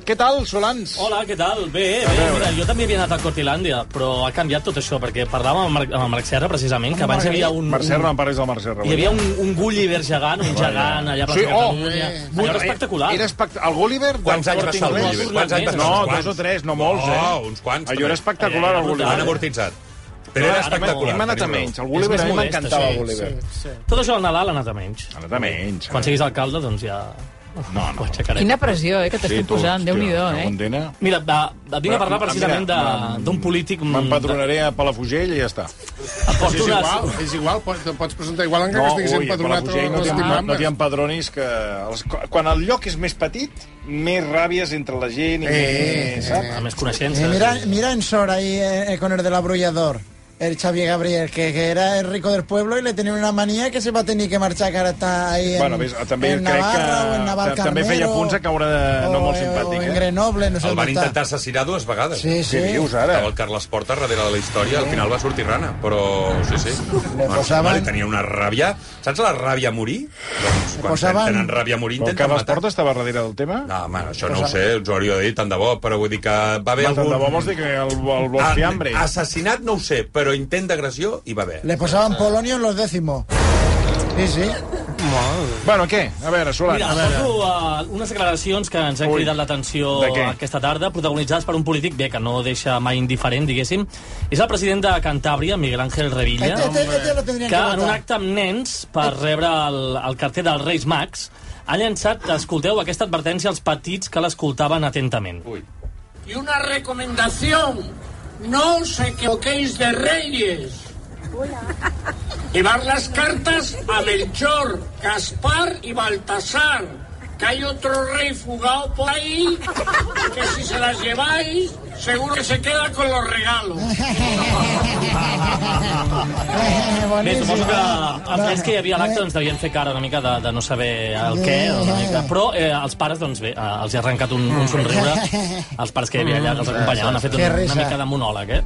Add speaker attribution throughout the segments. Speaker 1: Què tal, Solans?
Speaker 2: Hola, què tal? Bé, bé, mira, jo també havia anat a Cortilàndia, però ha canviat tot això, perquè parlàvem amb, Marc, amb el Marc Serra, precisament, que abans hi havia un...
Speaker 1: Mercè, no em pares del Mercè.
Speaker 2: Hi havia un, un Gulliver gegant, un gegant allà per
Speaker 1: Sí, oh,
Speaker 2: Catalunya. Allò era espectacular.
Speaker 1: Era espect... El Gulliver...
Speaker 3: Quants anys va
Speaker 2: Sporting
Speaker 3: ser el
Speaker 2: no ha
Speaker 3: Gulliver?
Speaker 2: tornat
Speaker 3: Quants anys
Speaker 2: més,
Speaker 3: va ser?
Speaker 1: No, dos o
Speaker 3: Uns quants?
Speaker 1: tres, no molts, eh?
Speaker 3: Oh, uns quants.
Speaker 1: Allò era
Speaker 3: també.
Speaker 1: espectacular, el
Speaker 2: Allà era
Speaker 3: Ho han
Speaker 1: Gulliver.
Speaker 3: amortitzat. Però era
Speaker 2: Ara,
Speaker 3: espectacular.
Speaker 1: Hem anat a
Speaker 3: teniu raó.
Speaker 1: menys. El Gulliver a
Speaker 2: És
Speaker 1: mi
Speaker 2: més
Speaker 1: m'encantava,
Speaker 2: modest,
Speaker 1: el Gulliver.
Speaker 2: Tot això al Nadal ha anat a menys.
Speaker 1: Ha anat a menys.
Speaker 2: Quan siguis alcalde, doncs ja... No, no. Ho aixecarem.
Speaker 4: Quina pressió, eh, que t'estic posant, Déu-n'hi-do, eh?
Speaker 1: Condena.
Speaker 2: Mira, va, et vinc a parlar
Speaker 1: Mira,
Speaker 2: precisament de-
Speaker 1: em-
Speaker 2: d'un polític...
Speaker 1: M'empadronaré a Palafugell i ja està.
Speaker 2: Et porto
Speaker 5: És igual,
Speaker 2: unes...
Speaker 5: és igual, pots, te'n pots presentar igual encara que estiguis
Speaker 1: ui, a
Speaker 5: empadronat o
Speaker 1: Palafrugell no, t'hi-
Speaker 5: estic
Speaker 1: no, no
Speaker 5: mambes.
Speaker 1: t'hi empadronis, que... Els, quan el lloc és més petit, més ràbies entre la gent i
Speaker 5: Eh,
Speaker 1: més...
Speaker 5: eh,
Speaker 1: saps?
Speaker 2: A més
Speaker 6: Eh,
Speaker 2: coneixences.
Speaker 6: mira, mira en Sora ahí eh, eh, con el del abrollador, el Xavier Gabriel, que, que era el rico del pueblo y le tenía una manía que se va a tener que marchar, que ahora está ahí en,
Speaker 1: Bueno, ves, també
Speaker 6: en
Speaker 1: crec
Speaker 6: Navarra o en Naval
Speaker 1: que ta- també feia
Speaker 6: Carnero,
Speaker 1: punts a caure de... no
Speaker 6: o-
Speaker 1: molt simpàtic.
Speaker 6: O en
Speaker 1: eh?
Speaker 6: Grenoble, no sé
Speaker 3: El
Speaker 6: on
Speaker 3: van
Speaker 6: està.
Speaker 3: intentar assassinar dues vegades.
Speaker 6: Sí, sí.
Speaker 1: Què dius, ara?
Speaker 3: Estava el Carles Porta darrere de la història, al final va sortir rana, però sí, sí.
Speaker 6: Le posaven-
Speaker 3: li tenia una ràbia... Saps la ràbia a morir? Doncs quan
Speaker 6: posaven-
Speaker 3: tenen ràbia a morir
Speaker 1: Però el
Speaker 3: intenten
Speaker 1: Carles
Speaker 3: matar.
Speaker 1: Porta estava darrere del tema?
Speaker 3: No, home, això no ho sé, us ho hauria de dir, tant de bo, però vull dir que va haver
Speaker 1: Bé,
Speaker 3: algun...
Speaker 1: de bo vols dir que el, el vols fiambre?
Speaker 3: Ah, Assassinat no ho sé, però intent d'agressió hi va haver.
Speaker 6: Le posaban Polonio en los décimos. Sí, sí.
Speaker 1: Bueno, què? A veure, Solans.
Speaker 2: Mira,
Speaker 1: a veure.
Speaker 2: porto a unes declaracions que ens han
Speaker 1: Ui.
Speaker 2: cridat l'atenció
Speaker 1: De què?
Speaker 2: aquesta tarda, protagonitzades per un polític bé que no deixa mai indiferent, diguéssim. És el president de Cantàbria, Miguel Ángel Revilla,
Speaker 7: Eh,
Speaker 6: Este, este, este lo tendrían
Speaker 2: que
Speaker 6: que
Speaker 2: en un
Speaker 6: votar.
Speaker 2: acte amb nens per rebre el, el carter dels Reis Mags ha llançat, escolteu, aquesta advertència als petits que l'escoltaven atentament.
Speaker 3: Ui.
Speaker 8: Y una recomendación, no os equivoquéis de reyes. Llevar las cartas a Melchor, Gaspar y Baltasar, que hay otro rey fugado por ahí, que si se las lleváis, seguro que se queda con los regalos.
Speaker 2: Bé,
Speaker 6: Boníssim.
Speaker 2: suposo que els nens que hi havia a l'acte doncs, devien fer cara una mica de, de no saber el què, una mica. però eh, els pares doncs, bé, eh, els hi ha arrencat un, un somriure, els pares que hi havia allà, que els acompanyaven, ha fet
Speaker 6: Que
Speaker 2: una, una
Speaker 6: risa.
Speaker 2: mica de monòleg, eh?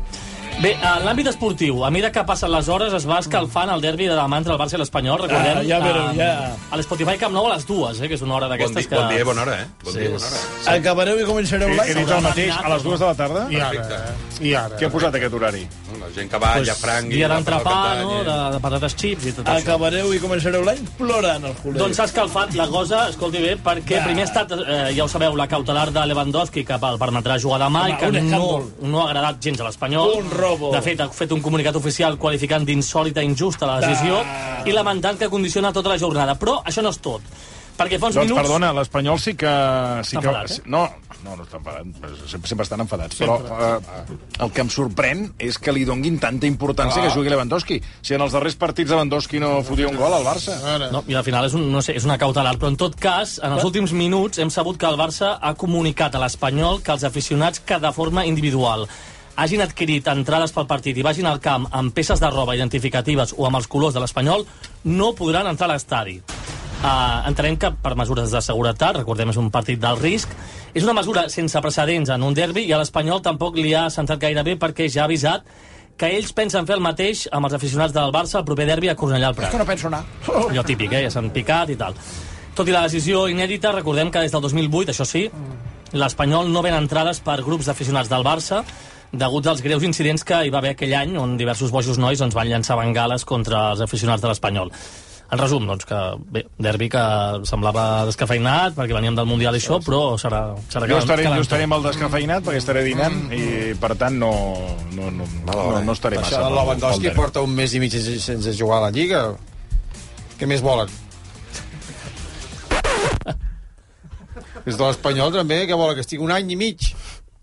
Speaker 2: Bé, en l'àmbit esportiu, a mesura que passen les hores es va escalfant el derbi de demà entre el Barça i l'Espanyol, recordem,
Speaker 7: ja veurem,
Speaker 2: eh,
Speaker 7: ja.
Speaker 2: a l'Spotify Camp Nou a les dues, eh, que és una hora
Speaker 3: Bon,
Speaker 2: d'aquestes
Speaker 3: di,
Speaker 2: que...
Speaker 3: bon dia, i bona hora, eh? Bon
Speaker 2: Sí,
Speaker 3: dia, i bona
Speaker 2: és-
Speaker 3: hora.
Speaker 7: Acabareu i començareu
Speaker 1: He, he
Speaker 7: l'acte.
Speaker 1: dit el mateix a les dues de la tarda?
Speaker 5: I ara, i ara.
Speaker 1: Què ha posat aquest horari?
Speaker 3: No, La gent que va pues, a Frank...
Speaker 2: Dia d'entrepà, no?, de, de patates xips i tot això.
Speaker 7: Acabareu i començareu l'any plorant al culer.
Speaker 2: Doncs s'ha escalfat la cosa, escolti bé, perquè
Speaker 7: Ah.
Speaker 2: primer ha estat, eh, ja ho sabeu, la cautelar de Lewandowski que el permetrà jugar demà i
Speaker 7: Home,
Speaker 2: que
Speaker 7: un
Speaker 2: no,
Speaker 7: escàndol.
Speaker 2: no ha agradat gens a l'Espanyol.
Speaker 7: Un robo.
Speaker 2: De fet, ha fet un comunicat oficial qualificant d'insòlita i injusta la decisió
Speaker 7: Ah.
Speaker 2: i lamentant que condiciona tota la jornada. Però això no és tot, perquè fa uns
Speaker 1: Doncs
Speaker 2: minuts...
Speaker 1: perdona, l'Espanyol sí que... Sí
Speaker 2: Està
Speaker 1: que
Speaker 2: enfadat, eh?
Speaker 1: sí- No, no, no estan enfadats, sempre, sempre estan enfadats, però eh, el que em sorprèn és que li donguin tanta importància que jugui Lewandowski. Si en els darrers partits Lewandowski no fotia un gol al Barça.
Speaker 5: Ara.
Speaker 2: No, I al final és, un, no sé, és una cautelar, però en tot cas, en els últims minuts hem sabut que el Barça ha comunicat a l'Espanyol que els aficionats que de forma individual hagin adquirit entrades pel partit i vagin al camp amb peces de roba identificatives o amb els colors de l'Espanyol, no podran entrar a l'estadi. Uh, entenem que per mesures de seguretat, recordem és un partit del risc, és una mesura sense precedents en un derbi i a l'Espanyol tampoc li ha sentat gaire bé perquè ja ha avisat que ells pensen fer el mateix amb els aficionats del Barça al proper derbi a Cornellà al Prat
Speaker 6: Que no penso anar.
Speaker 2: allò típic, eh? ja s'han picat i tal. Tot i la decisió inèdita, recordem que des del 2008, això sí, l'Espanyol no ven entrades per grups d'aficionats del Barça, degut als greus incidents que hi va haver aquell any, on diversos bojos nois doncs, van llançar bengales contra els aficionats de l'Espanyol. En resum, doncs, que bé, derbi que semblava descafeinat, perquè veníem del Mundial i això, però serà... serà
Speaker 1: Jo
Speaker 2: calent-
Speaker 1: estaré, jo
Speaker 2: calentó.
Speaker 1: estaré amb el descafeïnat perquè estaré dinant i, per tant, no, no, no, no, no estaré massa.
Speaker 5: Això
Speaker 1: pel-
Speaker 5: del Lewandowski
Speaker 1: pel derbi.
Speaker 5: porta un mes i mig sense jugar a la Lliga. Què més volen? Des de l'Espanyol també, que volen que estigui un any i mig.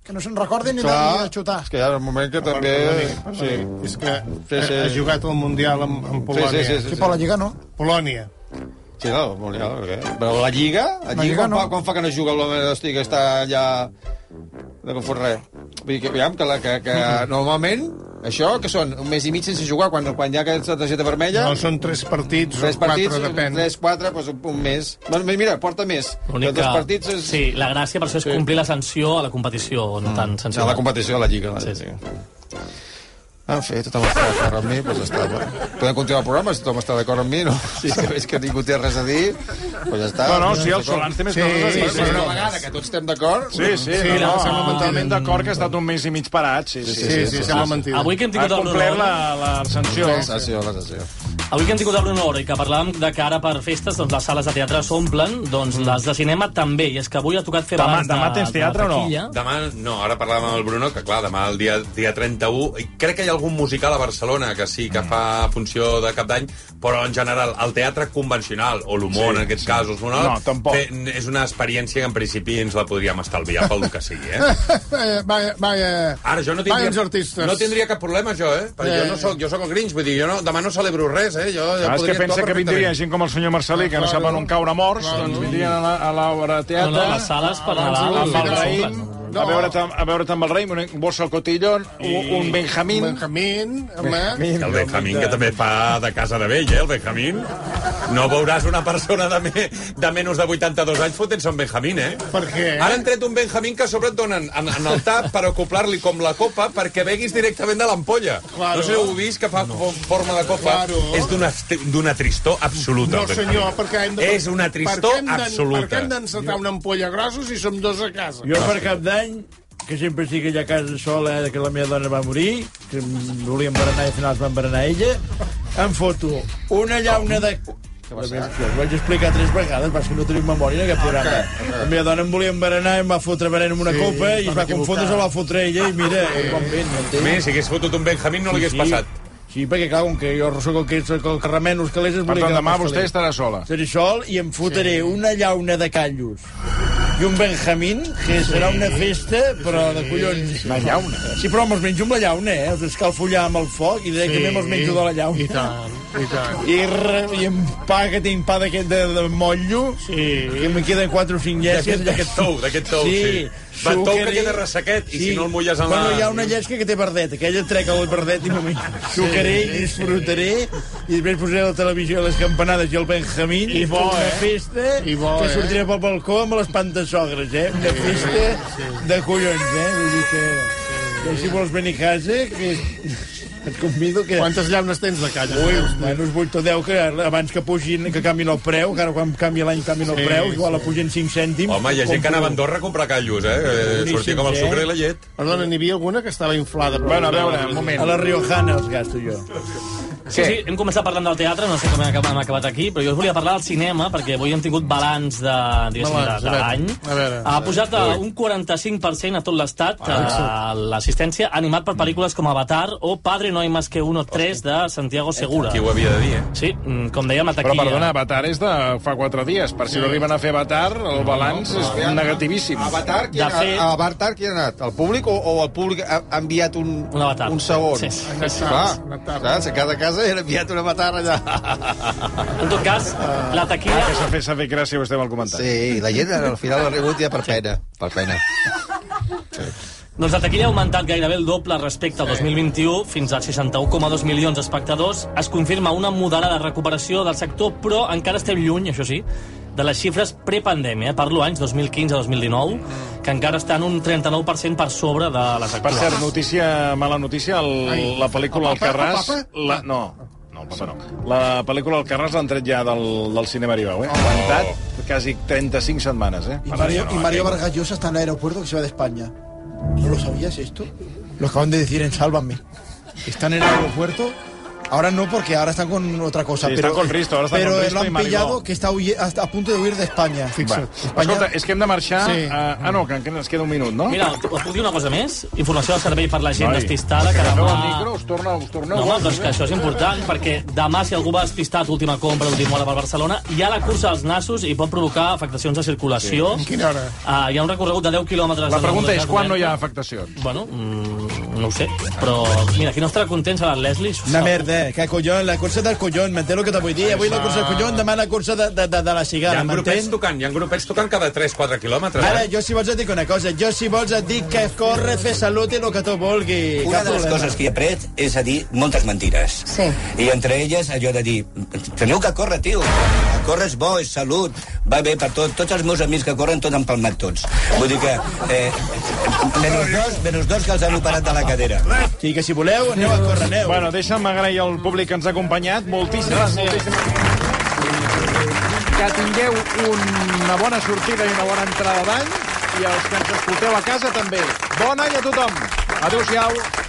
Speaker 6: Que no se'n recordin ni de, ni
Speaker 5: Clar,
Speaker 6: de xutar.
Speaker 5: és que hi ha un moment que també... Sí,
Speaker 9: És que
Speaker 5: Sí, sí.
Speaker 9: ha jugat al Mundial amb, amb
Speaker 5: sí,
Speaker 9: Polònia.
Speaker 5: sí, sí.
Speaker 6: Sí,
Speaker 5: sí,
Speaker 6: per la
Speaker 5: sí.
Speaker 6: Lliga no.
Speaker 9: Polònia.
Speaker 5: Sí, no, el Mundial, perquè... Però la Lliga, la Lliga,
Speaker 6: Lliga
Speaker 5: quan,
Speaker 6: no.
Speaker 5: fa, quan fa que no juga el Lewandowski, que està allà... No que fot res. Vull dir que, aviam, que, la, que, que normalment Això, que són un mes i mig sense jugar, quan, quan hi ha aquesta targeta vermella...
Speaker 9: No, són tres partits
Speaker 5: Tres
Speaker 9: o
Speaker 5: partits,
Speaker 9: quatre, depèn.
Speaker 5: tres, quatre, doncs un, un mes. Bueno, mira, porta més. Però tres partits és... Mm.
Speaker 2: Sí, la gràcia per això és complir la sanció a la competició, no tant sanció.
Speaker 5: A la competició de la Lliga. La
Speaker 2: Sí,
Speaker 5: Lliga. En fi, tothom està d'acord amb mi, doncs està bé. Podem continuar el programa, si tothom està d'acord amb mi, no? Sí. Si veig que ningú té res a dir, doncs està.
Speaker 1: No, no, sí, el Solans té més
Speaker 5: sí,
Speaker 1: coses a dir,
Speaker 5: Sí, sí,
Speaker 1: però
Speaker 5: una
Speaker 1: no.
Speaker 5: vegada que tots estem d'acord...
Speaker 1: Sí, sí, sí no, no, no, totalment d'acord que ha estat un mes i mig parat. Sí, sí, sí,
Speaker 9: sí, sembla mentida.
Speaker 2: Avui que hem tingut
Speaker 1: Ha
Speaker 2: el
Speaker 1: complert la,
Speaker 2: Bruno-
Speaker 1: la sanció.
Speaker 5: La sessió, la sessió.
Speaker 2: Avui que hem tingut el Bruno Oro i que parlàvem de que ara per festes doncs, les sales de teatre s'omplen, doncs les de cinema també, i és que avui ha tocat fer
Speaker 1: Mm. Demà-
Speaker 2: balanç de,
Speaker 1: demà tens
Speaker 2: de
Speaker 1: teatre o no?
Speaker 2: taquilla.
Speaker 3: Demà, no, ara parlàvem amb el Bruno, que clar, demà el dia, dia 31, i crec que hi ha algun musical a Barcelona que sí,
Speaker 1: Mm.
Speaker 3: que fa funció de cap d'any, però en general el teatre convencional, o l'humor
Speaker 1: Sí,
Speaker 3: sí, en aquests
Speaker 1: sí.
Speaker 3: sí. casos, no,
Speaker 1: No, tampoc.
Speaker 3: Té, és una experiència que en principi ens la podríem estalviar pel que sigui, eh?
Speaker 9: Vaya, vaya, vaya.
Speaker 3: Ara jo no
Speaker 9: Vaya
Speaker 3: tindria,
Speaker 9: artistes.
Speaker 3: no tindria cap problema, jo, eh? Perquè
Speaker 9: Eh.
Speaker 3: jo, no soc, jo soc el Grinch, vull dir, jo no, demà no celebro res, eh? Jo, jo
Speaker 1: Ah, és que
Speaker 3: podria
Speaker 1: pensa
Speaker 3: actuar
Speaker 1: que vindria
Speaker 3: perfectament.
Speaker 1: gent com el senyor Marcelí, que no
Speaker 9: Claro.
Speaker 1: sap on caure morts,
Speaker 9: Claro.
Speaker 1: doncs vindrien a la- a l'obra de
Speaker 2: No,
Speaker 1: teatre...
Speaker 2: no, les sales
Speaker 1: Ah,
Speaker 2: per Nadal
Speaker 1: amb el
Speaker 2: les
Speaker 1: raïm,
Speaker 2: omplen.
Speaker 1: a veure't amb, a veure't amb el raïm, un Bossa Cotillon, un, un Benjamín...
Speaker 9: Benjamín, home...
Speaker 3: El Benjamín, que també fa de casa de vell, eh, el Benjamín. No veuràs una persona de, me, de menys de 82 anys fotent-se un Benjamín, eh?
Speaker 9: Per què?
Speaker 3: Ara han tret un Benjamín que a sobre et donen en, en el tap per acoplar-li com la copa perquè beguis directament de l'ampolla.
Speaker 9: Claro.
Speaker 3: No sé si heu vist que fa no. forma de copa.
Speaker 9: Claro.
Speaker 3: És d'una est- d'una tristor absoluta.
Speaker 9: No,
Speaker 3: el Benjamín.
Speaker 9: senyor, perquè hem de...
Speaker 3: És una tristor
Speaker 9: per què hem d'en-
Speaker 3: absoluta.
Speaker 9: Per què hem d'encetar una ampolla grossa si som dos a casa?
Speaker 7: Jo per cap d'any, que sempre estic allà a casa sola, eh, que la meva dona va morir, que em volíem berenar i al final es van berenar ella, em foto una llauna de... La meva- Jo us vaig explicar tres vegades, va ser que no teniu memòria
Speaker 5: Ah,
Speaker 7: en aquest programa. La meva dona em volia berenar i em va fotre berenar amb una copa i es va confondre, se la va fotre ella i mira, un bon vent,
Speaker 3: A
Speaker 7: m'entens?
Speaker 3: més, si hagués fotut un Benjamín no li hagués passat.
Speaker 7: Sí, perquè clar, com que jo sóc el que, sóc el que remeno els calés... es
Speaker 1: Per
Speaker 7: volia
Speaker 1: tant,
Speaker 7: quedar
Speaker 1: demà
Speaker 7: amb els
Speaker 1: vostè
Speaker 7: calés.
Speaker 1: estarà sola.
Speaker 7: Seré sol i em fotré sí. una llauna de callos i un benjamín, que serà una festa, però de collons.
Speaker 1: Una llauna.
Speaker 7: Sí, però me'ls menjo amb la llauna, eh? Els escalfollar amb el foc i directament sí. me'ls menjo de la
Speaker 9: I
Speaker 7: llauna.
Speaker 9: tant, i tant.
Speaker 7: I, re, i em pa que tinc pa d'aquest de, de motllo,
Speaker 9: Sí.
Speaker 7: que em queden 4 o 5
Speaker 3: D'aquest
Speaker 7: llesques.
Speaker 3: d'aquest tou, d'aquest tou, sí. sí. Va, tou que queda ressequet, i si no el mulles en la...
Speaker 7: Bueno, hi ha una llesca que té verdet, aquella trec el verdet i m'ho menjo. Sucaré i disfrutaré, i després posaré la televisió a les campanades i el Benjamín,
Speaker 9: I bo,
Speaker 7: una
Speaker 9: eh?
Speaker 7: festa,
Speaker 9: I bo,
Speaker 7: que
Speaker 9: eh?
Speaker 7: sortiré pel balcó amb les pantasogres, eh? Una festa de collons, eh? Vull dir que... que si vols venir a casa, que et convido que...
Speaker 9: Quantes llaunes tens de calla?
Speaker 7: Ui, bueno, uns 8 o 10 que abans que pugin, que canvin el preu, que ara quan canvia l'any canvien el
Speaker 9: Sí,
Speaker 7: preu, igual
Speaker 9: sí.
Speaker 7: la pugen 5 cèntims.
Speaker 3: Home, hi ha gent que
Speaker 7: compro-
Speaker 3: anava a Andorra a comprar callos, eh? eh? Sortia com el
Speaker 7: eh?
Speaker 3: sucre i la llet.
Speaker 9: Perdona, n'hi havia alguna que estava inflada. però-
Speaker 1: Bueno, a veure, un moment.
Speaker 7: A la Riojana els gasto jo.
Speaker 2: Sí, sí, hem començat parlant del teatre, no sé com hem acabat, hem acabat aquí, però jo us volia parlar del cinema, perquè avui hem tingut balanç de, diguéssim, de,
Speaker 9: Balanç, a
Speaker 2: de
Speaker 9: veure,
Speaker 2: l'any.
Speaker 9: a veure.
Speaker 2: Ha pujat a un 45% a tot l'estat
Speaker 1: Ah,
Speaker 2: eh, l'assistència, animat
Speaker 1: Mm.
Speaker 2: per pel·lícules com Avatar o Padre no hay más que uno 3 de Santiago Segura.
Speaker 3: Qui ho havia de dir, eh?
Speaker 2: Sí, mm, com dèiem, la
Speaker 1: Però,
Speaker 2: taquilla...
Speaker 1: perdona, Avatar és de fa quatre dies. Per si no arriben a fer Avatar, el balanç és negativíssim.
Speaker 5: Avatar, qui
Speaker 2: De
Speaker 5: ha, fet...
Speaker 2: fet-
Speaker 5: a Avatar qui ha anat? El públic o, o el públic ha, ha enviat un,
Speaker 2: Un avatar.
Speaker 5: un segon?
Speaker 2: Sí, sí.
Speaker 5: Clar, clar, si cada casa era enviat un avatar allà.
Speaker 2: En tot cas,
Speaker 1: Ah.
Speaker 2: la taquilla...
Speaker 1: S'ha fet, s'ha fet gràcia vostè amb el comentari.
Speaker 5: Sí, la gent al final ha rigut ja per pena. Per pena.
Speaker 2: Doncs la taquilla ha augmentat gairebé el doble respecte al 2021, fins a 61,2 milions d'espectadors. Es confirma una moderada recuperació del sector, però encara estem lluny, això sí, de les xifres prepandèmia, eh? parlo anys 2015-2019, que encara estan un 39% per sobre de les
Speaker 1: Per
Speaker 2: actuals.
Speaker 1: cert, notícia, mala notícia, el, la pel·lícula
Speaker 9: el papa,
Speaker 1: Alcarràs...
Speaker 9: el papa?
Speaker 1: La, no, no, el papa no. La pel·lícula Alcarràs l'han tret ja del, del cinema Aribau, eh? Ha aguantat quasi 35 setmanes, eh?
Speaker 6: Y
Speaker 1: Per
Speaker 6: Mario,
Speaker 1: això
Speaker 6: y
Speaker 1: no,
Speaker 6: Mario
Speaker 1: eh?
Speaker 6: Vargas Llosa está en el aeropuerto que se va de España. ¿No lo sabías esto? Lo acaban de decir en Sálvame. Están en el aeropuerto. Ahora no, porque ahora están con otra cosa.
Speaker 1: Sí,
Speaker 6: pero,
Speaker 1: están con Risto, ahora están
Speaker 6: pero
Speaker 1: con Risto
Speaker 6: lo
Speaker 1: y
Speaker 6: han
Speaker 1: Mariló.
Speaker 6: pillado que está huye- hasta a punto de huir de España.
Speaker 1: Va.
Speaker 6: Espanya-
Speaker 1: Escolta, és que hem de marxar...
Speaker 9: Sí.
Speaker 1: Sí. Uh, ah, no, que encara ens queda un minut, no?
Speaker 2: Mira, us puc dir una cosa més? Informació del servei per la gent
Speaker 1: Noi,
Speaker 2: despistada, que
Speaker 1: Agafeu el
Speaker 2: demà...
Speaker 1: micro, us torna... Us torna
Speaker 2: Ah. No, home, doncs
Speaker 1: eh?
Speaker 2: que això és important, perquè demà, si algú va despistat última compra, última hora per Barcelona, hi ha la cursa als nassos i pot provocar afectacions de circulació. Sí.
Speaker 9: Quina hora?
Speaker 2: Ah, hi ha un recorregut de 10 quilòmetres...
Speaker 1: La
Speaker 2: de
Speaker 1: pregunta
Speaker 2: rodejat
Speaker 1: és quan no hi ha
Speaker 2: obert.
Speaker 1: afectacions.
Speaker 2: Bueno, mm, no ho sé, però... Mira, qui no estarà content serà el Leslie. s'ho
Speaker 7: Una
Speaker 2: sap.
Speaker 7: merda, Home, que collon, la cursa del collon, m'entén el que te vull dir? Avui la cursa del collon, demà la cursa de, de, de, de la
Speaker 3: Hi
Speaker 1: em
Speaker 7: cigala,
Speaker 3: ha grupets
Speaker 7: m'entén?
Speaker 3: tocant, hi ha grupets tocant cada 3-4 quilòmetres.
Speaker 7: Ara,
Speaker 3: eh?
Speaker 7: jo si vols et dic una cosa, jo si vols et dic que corre, fer salut i el que tu vulguis.
Speaker 10: Una
Speaker 7: cap
Speaker 10: de les
Speaker 7: problema.
Speaker 10: coses que he après és a dir moltes mentides. Sí. I entre elles allò de dir, teniu que córrer, tio. Córrer és bo, és salut, va bé per tot. Tots els meus amics que corren tot han palmat tots. Vull dir que... Eh, menys dos, menys dos que els han operat de la cadera.
Speaker 7: Sí, que si voleu, aneu a córrer, aneu.
Speaker 1: Bueno, deixa'm agrair al públic que ens ha acompanyat. Moltíssimes, moltíssimes. Que tingueu una bona sortida i una bona entrada d'any i els que ens escolteu a casa també. Bon any a tothom. Adéu-siau.